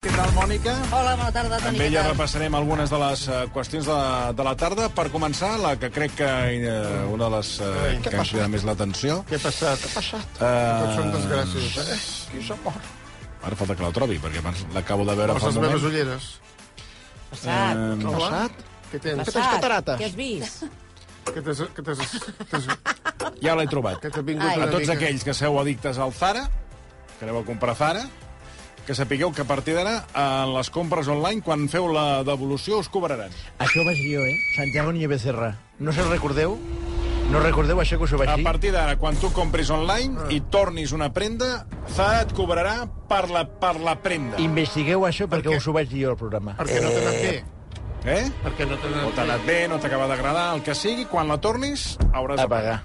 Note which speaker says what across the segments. Speaker 1: Què tal, Mònica?
Speaker 2: Hola, bona tarda, Toni.
Speaker 1: Bé,
Speaker 2: què
Speaker 1: ja
Speaker 2: tal?
Speaker 1: repassarem algunes de les eh, qüestions de, de la tarda. Per començar, la que crec que eh, una de les eh,
Speaker 3: Ai,
Speaker 1: que
Speaker 3: què
Speaker 1: ens
Speaker 3: passa?
Speaker 1: crida més l'atenció.
Speaker 3: Què ha passat? Què ha passat?
Speaker 1: Eh,
Speaker 3: Tot són desgràcies, eh? Qui s'ha mort?
Speaker 1: Ara falta que la trobi, perquè abans l'acabo de veure
Speaker 3: Posa
Speaker 1: fa
Speaker 3: les
Speaker 1: un
Speaker 3: meves
Speaker 1: moment.
Speaker 3: ulleres.
Speaker 2: Passat.
Speaker 3: Què ha passat? Què tens?
Speaker 2: Passat.
Speaker 3: Que tens catarates?
Speaker 2: Què has vist?
Speaker 3: Que t'has... Que t'has... que t'has-
Speaker 1: Ja l'he trobat.
Speaker 3: Que t'ha vingut
Speaker 2: Ai.
Speaker 3: una
Speaker 1: A tots
Speaker 3: mica.
Speaker 1: aquells que seu addictes al Zara, que aneu a comprar Zara, que sapigueu que a partir d'ara, en les compres online, quan feu la devolució, us cobraran.
Speaker 4: Això ho vaig dir jo, eh? Santiago Niño Becerra. No se'n recordeu? No recordeu això que us ho vaig
Speaker 1: A
Speaker 4: dir?
Speaker 1: partir d'ara, quan tu compris online
Speaker 4: Ah.
Speaker 1: i tornis una prenda, Zara et cobrarà per la, per la prenda.
Speaker 4: Investigueu això perquè
Speaker 3: què?
Speaker 4: us ho vaig dir jo al programa.
Speaker 3: Perquè no t'ha anat bé.
Speaker 1: Eh?
Speaker 3: Perquè no t'ha
Speaker 1: No
Speaker 3: anat
Speaker 1: t'ha anat bé, no t'acaba d'agradar, el que sigui, quan la tornis hauràs
Speaker 4: A pagar.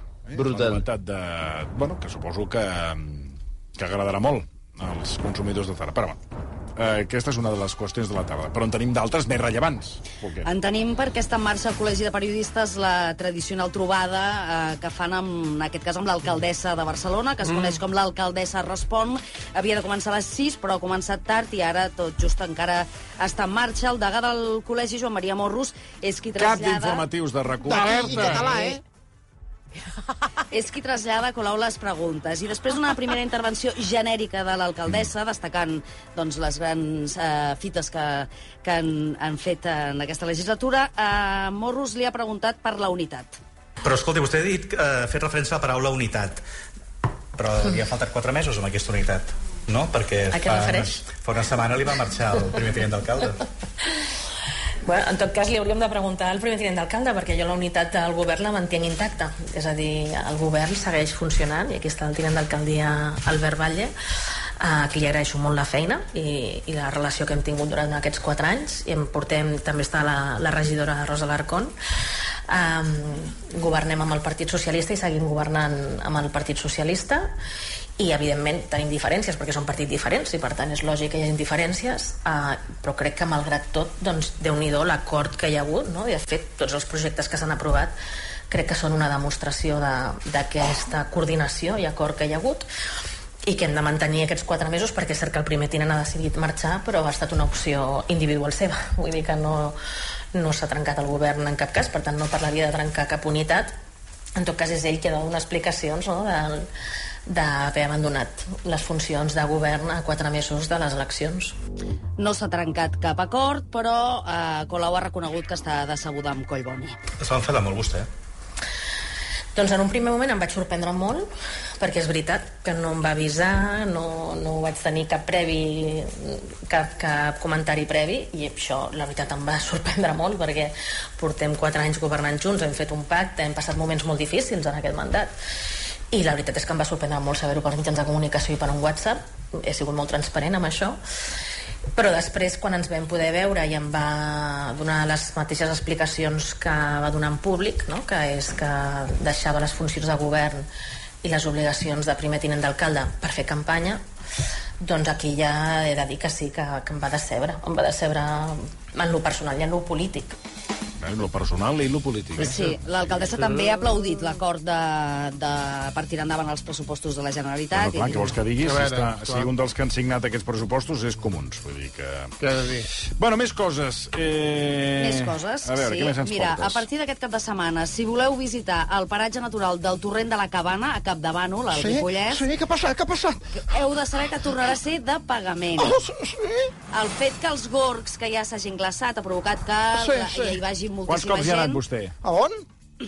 Speaker 1: És
Speaker 4: Brutal.
Speaker 1: una novetat de... Bueno, que suposo que, mm, que agradarà molt als consumidors de Zara. Però, bueno, eh, aquesta és una de les qüestions de la tarda. Però en tenim d'altres més rellevants. Folquet.
Speaker 2: En tenim perquè està en marxa al Col·legi de Periodistes la tradicional trobada eh, que fan, amb, en aquest cas, amb l'alcaldessa de Barcelona, que es coneix com l'alcaldessa Respon. Havia de començar a les 6, però ha començat tard i ara tot just encara està en marxa. El degà del col·legi, Joan Maria Morros, és qui
Speaker 1: Cap
Speaker 2: trasllada...
Speaker 1: d'informatius de rac
Speaker 3: I català, eh?
Speaker 2: és qui trasllada a Colau les preguntes. I després d'una primera intervenció genèrica de l'alcaldessa, destacant doncs, les grans eh, fites que, que han, han fet en aquesta legislatura, eh, Morros li ha preguntat per la unitat.
Speaker 5: Però escolti, vostè ha dit, eh, fet referència a la paraula unitat, però li han faltat quatre mesos amb aquesta unitat, no? Perquè
Speaker 6: A què
Speaker 5: fa,
Speaker 6: refereix?
Speaker 5: Una, fa una setmana li va marxar el primer tinent d'alcalde.
Speaker 6: Bueno, en tot cas, li hauríem de preguntar al primer tinent d'alcalde, perquè jo la unitat del govern la mantenc intacta. És a dir, el govern segueix funcionant, i aquí està el tinent d'alcaldia Albert Valle, a qui li agraeixo molt la feina i, i la relació que hem tingut durant aquests quatre anys. I en portem, també està la, la regidora Rosa Larcón. Um, governem amb el Partit Socialista i seguim governant amb el Partit Socialista i evidentment tenim diferències perquè són partits diferents i per tant és lògic que hi hagi diferències eh, però crec que malgrat tot doncs, déu nhi l'acord que hi ha hagut no? i de fet tots els projectes que s'han aprovat crec que són una demostració de- d'aquesta de, coordinació i acord que hi ha hagut i que hem de mantenir aquests quatre mesos perquè és cert que el primer tinent ha decidit marxar però ha estat una opció individual seva vull dir que no, no s'ha trencat el govern en cap cas, per tant no parlaria de trencar cap unitat en tot cas és ell que ha de donar explicacions no, del- d'haver abandonat les funcions de govern a quatre mesos de les eleccions.
Speaker 2: No s'ha trencat cap acord, però eh, Colau ha reconegut que està decebuda amb Collboni.
Speaker 5: Es va enfadar molt vostè. Eh?
Speaker 6: Doncs en un primer moment em vaig sorprendre molt, perquè és veritat que no em va avisar, no, no vaig tenir cap previ, cap, cap comentari previ, i això, la veritat, em va sorprendre molt, perquè portem quatre anys governant junts, hem fet un pacte, hem passat moments molt difícils en aquest mandat, i la veritat és que em va sorprendre molt saber-ho per mitjans de comunicació i per un WhatsApp, he sigut molt transparent amb això, però després, quan ens vam poder veure i em va donar les mateixes explicacions que va donar en públic, no? que és que deixava les funcions de govern i les obligacions de primer tinent d'alcalde per fer campanya, doncs aquí ja he de dir que sí, que, que em va decebre. Em va decebre en lo personal i en lo polític.
Speaker 1: Eh, lo personal i lo polític.
Speaker 2: Sí, l'alcaldessa també ha aplaudit l'acord de, de, per tirar endavant els pressupostos de la Generalitat.
Speaker 1: Bueno, clar, què vols que digui?
Speaker 3: A
Speaker 1: Si,
Speaker 3: veure,
Speaker 1: està, si
Speaker 3: clar.
Speaker 1: un dels que han signat aquests pressupostos és comuns. Vull dir que...
Speaker 3: Què ha de dir?
Speaker 1: Bueno, més coses. Eh...
Speaker 2: Més coses.
Speaker 1: A veure,
Speaker 2: sí.
Speaker 1: què més ens
Speaker 2: Mira,
Speaker 1: portes?
Speaker 2: a partir d'aquest cap de setmana, si voleu visitar el paratge natural del torrent de la Cabana, a Capdavànol, al
Speaker 3: Sí?
Speaker 2: Ripollès,
Speaker 3: Sí? Què ha passat? Què ha passat?
Speaker 2: heu de saber que tornarà a ser de pagament.
Speaker 3: Oh, sí, sí?
Speaker 2: El fet que els gorgs que ja s'hagin glaçat ha provocat que
Speaker 3: Sí,
Speaker 2: la-
Speaker 3: sí.
Speaker 2: hi vagi
Speaker 1: Quants
Speaker 2: moltíssima
Speaker 1: cops hi ha
Speaker 2: gent.
Speaker 1: anat vostè?
Speaker 3: A on?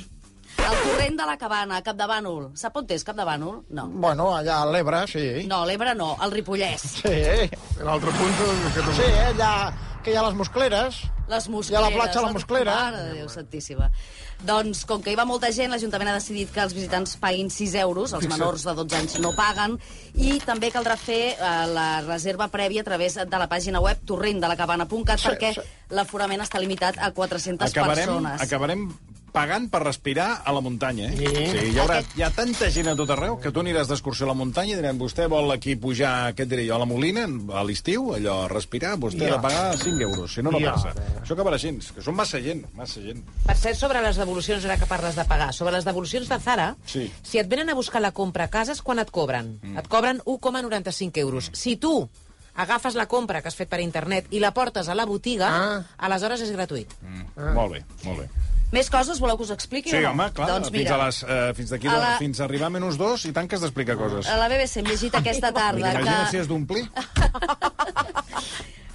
Speaker 2: El torrent de la Cabana, a Capdavànol. Sap on és Capdavànol? No.
Speaker 3: Bueno, allà a l'Ebre, sí.
Speaker 2: No, l'Ebre no, el Ripollès.
Speaker 3: Sí.
Speaker 1: L'altre punt... Que
Speaker 3: Sí, allà que hi ha les muscleres.
Speaker 2: Les
Speaker 3: Hi
Speaker 2: muscleres.
Speaker 3: ha la platja a la Musclera.
Speaker 2: Mare de Déu Santíssima. Doncs, com que hi va molta gent, l'Ajuntament ha decidit que els visitants paguin 6 euros, els menors de 12 anys no paguen, i també caldrà fer eh, la reserva prèvia a través de la pàgina web torrentdelacabana.cat, perquè l'aforament està limitat a 400
Speaker 1: acabarem,
Speaker 2: persones.
Speaker 1: acabarem pagant per respirar a la muntanya. Eh? Sí. sí hi, haurà, hi ha tanta gent a tot arreu que tu aniràs d'excursió a la muntanya i diran, vostè vol aquí pujar, què et diré jo, a la Molina, a l'estiu, allò, a respirar, vostè ha
Speaker 4: Ja.
Speaker 1: de pagar 5 euros, si no, no
Speaker 4: Ja.
Speaker 1: passa. Això acabarà així, que són massa gent, massa gent.
Speaker 7: Per cert, sobre les devolucions, ara que parles de pagar, sobre les devolucions de Zara,
Speaker 1: Sí.
Speaker 7: si et venen a buscar la compra a casa és quan et cobren. Mm. Et cobren 1,95 euros.
Speaker 6: Mm.
Speaker 7: Si tu agafes la compra que has fet per internet i la portes a la botiga,
Speaker 8: Ah.
Speaker 7: aleshores és gratuït.
Speaker 1: Ah. Molt bé, molt bé.
Speaker 2: Més coses voleu que us expliqui
Speaker 1: Sí,
Speaker 2: o no?
Speaker 1: home, clar,
Speaker 2: doncs
Speaker 1: fins,
Speaker 2: mira,
Speaker 1: a les, eh, fins, d'aquí
Speaker 2: A
Speaker 1: la...
Speaker 2: la-
Speaker 1: fins a arribar a menys dos i tant que has d'explicar coses.
Speaker 2: A la BBC hem llegit aquesta tarda
Speaker 1: Imagina't si
Speaker 2: que...
Speaker 1: has d'omplir.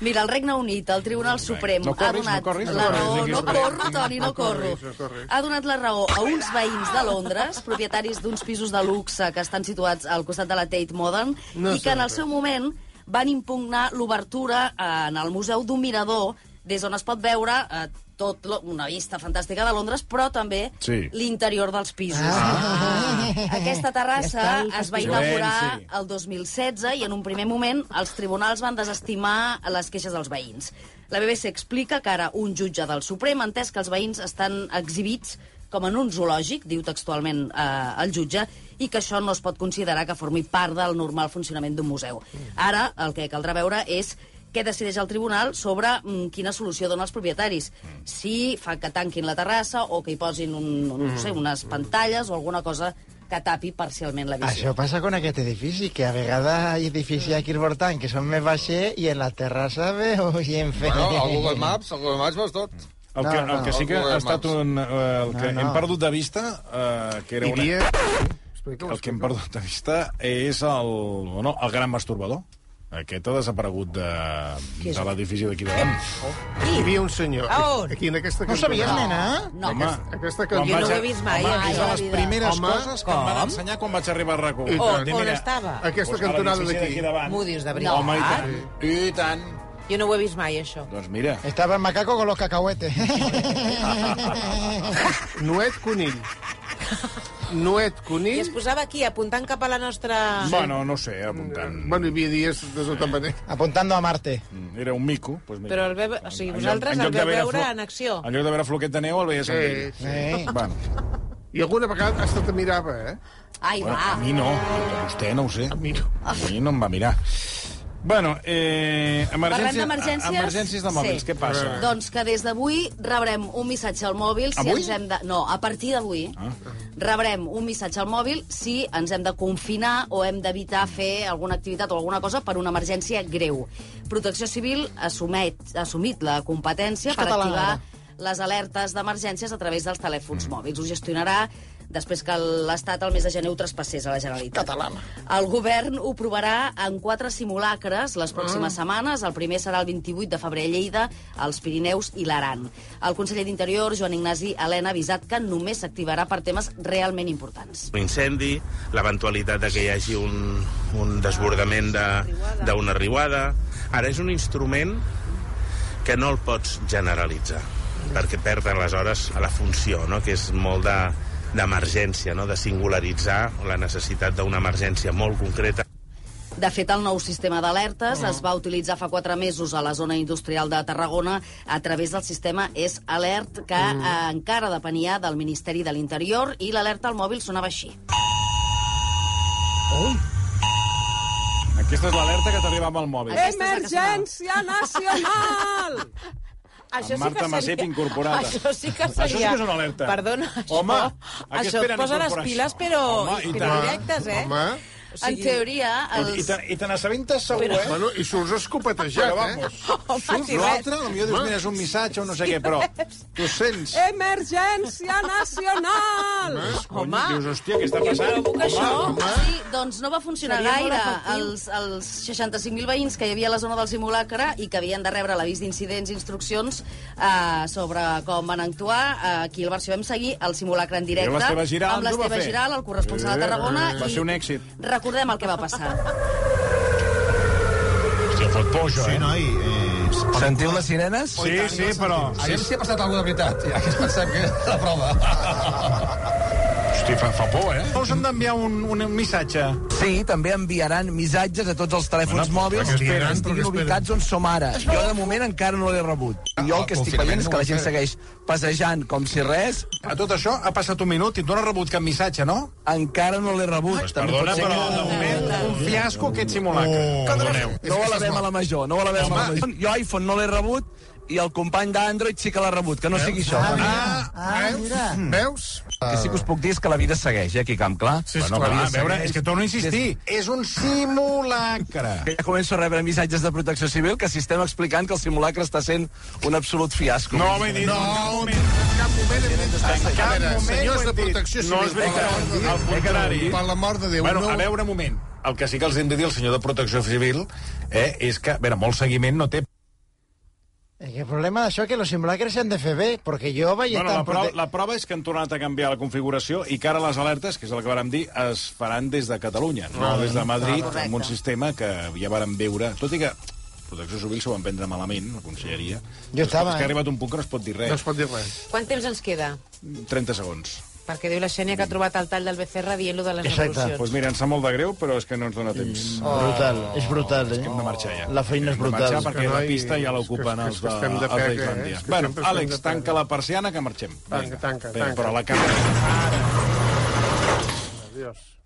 Speaker 2: Mira, el Regne Unit, el Tribunal Suprem,
Speaker 1: No corris,
Speaker 2: ha donat
Speaker 1: no corris, no
Speaker 2: la
Speaker 1: corris,
Speaker 2: raó...
Speaker 1: diguis,
Speaker 2: No
Speaker 1: corris.
Speaker 2: corro, Toni, no
Speaker 8: No
Speaker 2: corro.
Speaker 8: corris, no corris.
Speaker 2: Ha donat la raó a uns veïns de Londres, propietaris d'uns pisos de luxe que estan situats al costat de la Tate Modern,
Speaker 8: No
Speaker 2: i que en el
Speaker 8: sempre.
Speaker 2: seu moment van impugnar l'obertura eh, en el Museu d'un Mirador, des on es pot veure eh, tot lo, una vista fantàstica de Londres, però també
Speaker 1: Sí.
Speaker 2: l'interior dels pisos. Ah. Aquesta terrassa es va inaugurar
Speaker 1: Silenci.
Speaker 2: el 2016 i en un primer moment els tribunals van desestimar les queixes dels veïns. La BBC explica que ara un jutge del Suprem ha entès que els veïns estan exhibits com en un zoològic, diu textualment eh, el jutge, i que això no es pot considerar que formi part del normal funcionament d'un museu. Ara el que caldrà veure és què decideix el tribunal sobre mm, quina solució dona als propietaris. Si fa que tanquin la terrassa o que hi posin un, un, no
Speaker 1: Mm.
Speaker 2: sé, unes pantalles o alguna cosa que tapi parcialment la visió.
Speaker 4: Això passa amb aquest edifici, que a vegades hi ha edificis aquí al voltant que són més baixers i en la terrassa veu gent fent...
Speaker 8: Bueno, el Google Maps, el Google Maps veus tot.
Speaker 1: El que,
Speaker 4: No, no,
Speaker 1: el que sí que
Speaker 8: el Google
Speaker 1: ha estat
Speaker 8: Maps.
Speaker 1: un... eh, El que
Speaker 4: No, no.
Speaker 1: hem perdut de vista, eh, que era
Speaker 8: I
Speaker 1: una...
Speaker 8: dia...
Speaker 1: El que hem perdut de vista és el, bueno, el gran masturbador. Aquest ha desaparegut de, de l'edifici d'aquí davant.
Speaker 8: Hi havia un senyor,
Speaker 7: A on?
Speaker 8: aquí en aquesta
Speaker 4: No ho sabies, nena?
Speaker 2: No,
Speaker 1: Home,
Speaker 8: aquesta
Speaker 1: quan vaig
Speaker 8: cantina-
Speaker 7: Jo no ho he vist mai,
Speaker 1: Home,
Speaker 7: eh,
Speaker 1: és
Speaker 7: a
Speaker 1: de
Speaker 7: la
Speaker 1: les
Speaker 7: vida.
Speaker 1: primeres
Speaker 8: Home,
Speaker 1: coses que em van ensenyar quan vaig arribar a Doncs RAC1.
Speaker 8: I tant. On-
Speaker 7: on estava?
Speaker 8: Aquesta cantonada d'aquí. Ah.
Speaker 7: M'ho dius de veritat?
Speaker 1: Home, i tant. I tant.
Speaker 7: Jo no ho he vist mai, això. Ah.
Speaker 1: Doncs mira,
Speaker 4: Estava el macaco con los cacahuetes.
Speaker 8: Nuet Conill. Nuet
Speaker 7: I
Speaker 8: Conill.
Speaker 7: es posava aquí, apuntant cap a la nostra...
Speaker 1: bueno, no sé, apuntant.
Speaker 8: Bueno, hi havia dies de sota manera.
Speaker 4: Apuntando a Marte.
Speaker 1: Mm, Era un mico. Doncs mira.
Speaker 7: Però el veu- o sigui,
Speaker 1: En lloc-
Speaker 7: vosaltres
Speaker 1: en
Speaker 7: el
Speaker 1: lloc de
Speaker 7: veu
Speaker 1: veure
Speaker 7: veure
Speaker 1: Flo-
Speaker 7: en acció.
Speaker 1: En lloc de veure Floquet de Neu, el veies amb ell.
Speaker 8: Sí, sí.
Speaker 4: Eh.
Speaker 1: Bueno,
Speaker 8: I alguna vegada hasta te mirava, eh?
Speaker 2: Ai,
Speaker 1: bueno, a
Speaker 2: va.
Speaker 1: mi no, a vostè no ho sé.
Speaker 8: A mi no.
Speaker 1: A mi no em va mirar. Bueno, eh,
Speaker 2: Parlem
Speaker 1: emergència,
Speaker 2: d'emergències?
Speaker 1: emergències de mòbils,
Speaker 2: Sí.
Speaker 1: què passa?
Speaker 2: Doncs que des d'avui rebrem un missatge al mòbil si
Speaker 1: Avui?
Speaker 2: ens hem de... No, a partir d'avui ah. rebrem un missatge al mòbil si ens hem de confinar o hem d'evitar fer alguna activitat o alguna cosa per una emergència greu. Protecció Civil assumet, assumit la competència
Speaker 4: És
Speaker 2: per
Speaker 4: catalana,
Speaker 2: activar
Speaker 4: ara.
Speaker 2: les alertes d'emergències a través dels telèfons
Speaker 1: Mm.
Speaker 2: mòbils. Ho gestionarà després que l'Estat el mes de gener ho traspassés a la Generalitat. Catalana. El govern ho provarà en quatre simulacres les pròximes setmanes. El primer serà el 28 de febrer a Lleida, als Pirineus i l'Aran. El conseller d'Interior, Joan Ignasi Helena, ha avisat que només s'activarà per temes realment importants.
Speaker 9: un incendi, l'eventualitat de que hi hagi un, un desbordament de- d'una riuada. Ara és un instrument que no el pots generalitzar, perquè perd aleshores la funció, no? que és molt de d'emergència, no? de singularitzar la necessitat d'una emergència molt concreta.
Speaker 2: De fet, el nou sistema d'alertes es va utilitzar fa quatre mesos a la zona industrial de Tarragona a través del sistema És Alert, que eh, encara depenia del Ministeri de l'Interior, i l'alerta al mòbil sonava així.
Speaker 7: Doncs-
Speaker 1: Aquesta és l'alerta que t'arriba amb el mòbil.
Speaker 7: Eh,
Speaker 2: Aquesta és la que sonava.
Speaker 7: nacional!
Speaker 1: Amb Marta Masip incorporada.
Speaker 7: Això sí que
Speaker 1: Això sí
Speaker 7: seria...
Speaker 1: que és una alerta.
Speaker 7: Perdona, això...
Speaker 1: Home, a què
Speaker 7: això
Speaker 1: esperen
Speaker 7: posa les
Speaker 1: incorporar
Speaker 7: piles,
Speaker 1: això?
Speaker 7: però,
Speaker 1: Home, i
Speaker 7: però
Speaker 1: tant.
Speaker 7: directes, eh?
Speaker 8: Home,
Speaker 7: O
Speaker 2: En
Speaker 7: sigui,
Speaker 2: teoria,
Speaker 1: I- I
Speaker 2: els...
Speaker 1: te, i te n'assabentes segur, eh?
Speaker 8: bueno, i surts escopatejat,
Speaker 1: Però
Speaker 8: eh?
Speaker 1: vamos,
Speaker 7: Home,
Speaker 1: surts
Speaker 7: si res.
Speaker 1: l'altre, potser dius, mira, és un missatge o no sé què, però tu sents...
Speaker 7: Emergència nacional!
Speaker 1: Cony, dius, hòstia, què està passant?
Speaker 7: provoca això?
Speaker 2: Sí, doncs no va funcionar
Speaker 7: eh? Seria molt
Speaker 2: gaire.
Speaker 7: efectiu.
Speaker 2: Els, els 65.000 veïns que hi havia a la zona del simulacre i que havien de rebre l'avís d'incidents i instruccions eh, sobre com van actuar, eh, aquí el Barça vam seguir el simulacre en directe
Speaker 1: I l'Esteve Giral
Speaker 2: amb
Speaker 1: ens ho va
Speaker 2: l'Esteve
Speaker 1: fer. Eh,
Speaker 2: Giral, el corresponsal de Tarragona.
Speaker 1: va
Speaker 2: i
Speaker 1: ser un èxit.
Speaker 2: Recordem el que va passar.
Speaker 1: Hòstia, fot por, això, eh?
Speaker 5: noi, eh, sentiu les sirenes?
Speaker 1: Sí, sí, però...
Speaker 5: Aviam si ha passat alguna de veritat. Ja que pensem que és la prova.
Speaker 1: Hosti, fa, fa por, eh?
Speaker 10: Us han d'enviar un, un missatge.
Speaker 6: Sí, també enviaran missatges a tots els telèfons
Speaker 10: Bueno,
Speaker 6: mòbils
Speaker 10: però què esperen?
Speaker 6: que estiguin
Speaker 10: Però què esperen?
Speaker 6: ubicats on som ara.
Speaker 10: Això-
Speaker 6: Jo, de moment, encara no l'he rebut.
Speaker 1: Ah,
Speaker 6: Jo el que estic veient és que la gent segueix passejant com si res.
Speaker 10: A tot això ha passat un minut i tu no has rebut cap missatge, no?
Speaker 6: Encara no l'he rebut. Pues
Speaker 10: Perdona, però de moment un fiasco aquest simulacre.
Speaker 6: Oh, no la vam a la major, no la vam a la major. Jo iPhone no l'he rebut i el company d'Android sí que l'ha rebut, que no sigui això. Ah,
Speaker 4: Ah, mira.
Speaker 6: veus? Que sí que us puc dir és que la vida segueix, eh, aquí, Camp Clar.
Speaker 1: Sí, Bueno, esclar, clar, a veure, és que torno a insistir,
Speaker 6: és un simulacre. Ja començo a rebre missatges de protecció civil que si estem explicant que el simulacre està sent un absolut fiasco.
Speaker 1: No, m'he dit,
Speaker 6: No,
Speaker 8: En cap moment
Speaker 1: ho
Speaker 8: Senyors
Speaker 1: hem
Speaker 8: de
Speaker 1: dit.
Speaker 8: protecció
Speaker 1: No
Speaker 8: civil.
Speaker 1: és veritat, al contrari.
Speaker 8: Per l'amor de Déu,
Speaker 1: bueno,
Speaker 8: no.
Speaker 1: a veure, un moment. El que sí que els hem de dir al senyor de Protecció Civil eh, és que, a veure, molt seguiment no té...
Speaker 4: El problema d'això és Eh, que los simulacres s'han de fer bé, perquè jo vaig
Speaker 1: Bueno, la,
Speaker 4: estar...
Speaker 1: prova, la prova és que han tornat a canviar la configuració i que ara les alertes, que és el que vàrem dir, es faran des de Catalunya, no,
Speaker 4: Ah,
Speaker 1: des de Madrid,
Speaker 4: correcte.
Speaker 1: amb un sistema que ja vàrem veure, tot i que Protecció Civil s'ho van prendre malament, la conselleria. Jo
Speaker 2: estava,
Speaker 1: És que
Speaker 2: eh?
Speaker 1: ha arribat un punt que no es pot dir res.
Speaker 8: No es pot dir res.
Speaker 2: Quant temps ens queda?
Speaker 1: 30 segons.
Speaker 2: Perquè diu la Xènia que ha trobat el tall del Becerra dient-lo de les
Speaker 1: Doncs pues
Speaker 2: resolucions.
Speaker 1: mira, em sap molt de greu, però és que no ens dona temps.
Speaker 4: Brutal, és brutal, eh?
Speaker 1: Hem de marxar ja.
Speaker 4: La feina
Speaker 1: Hem
Speaker 4: és
Speaker 1: de
Speaker 4: brutal.
Speaker 1: marxar perquè
Speaker 4: Que no
Speaker 1: la
Speaker 4: hi-
Speaker 1: pista ja
Speaker 4: és
Speaker 1: l'ocupen
Speaker 4: que-
Speaker 1: els
Speaker 4: és que
Speaker 1: de,
Speaker 4: estem de
Speaker 1: els
Speaker 4: pega, eh?
Speaker 1: d'Islàndia.
Speaker 4: És que
Speaker 1: Bueno,
Speaker 4: sempre estem de
Speaker 1: Àlex,
Speaker 4: pega.
Speaker 1: tanca la persiana que marxem. Vinga.
Speaker 8: Tanca, tanca,
Speaker 1: Vinga,
Speaker 8: tanca.
Speaker 1: Però la càmera...
Speaker 8: Adiós.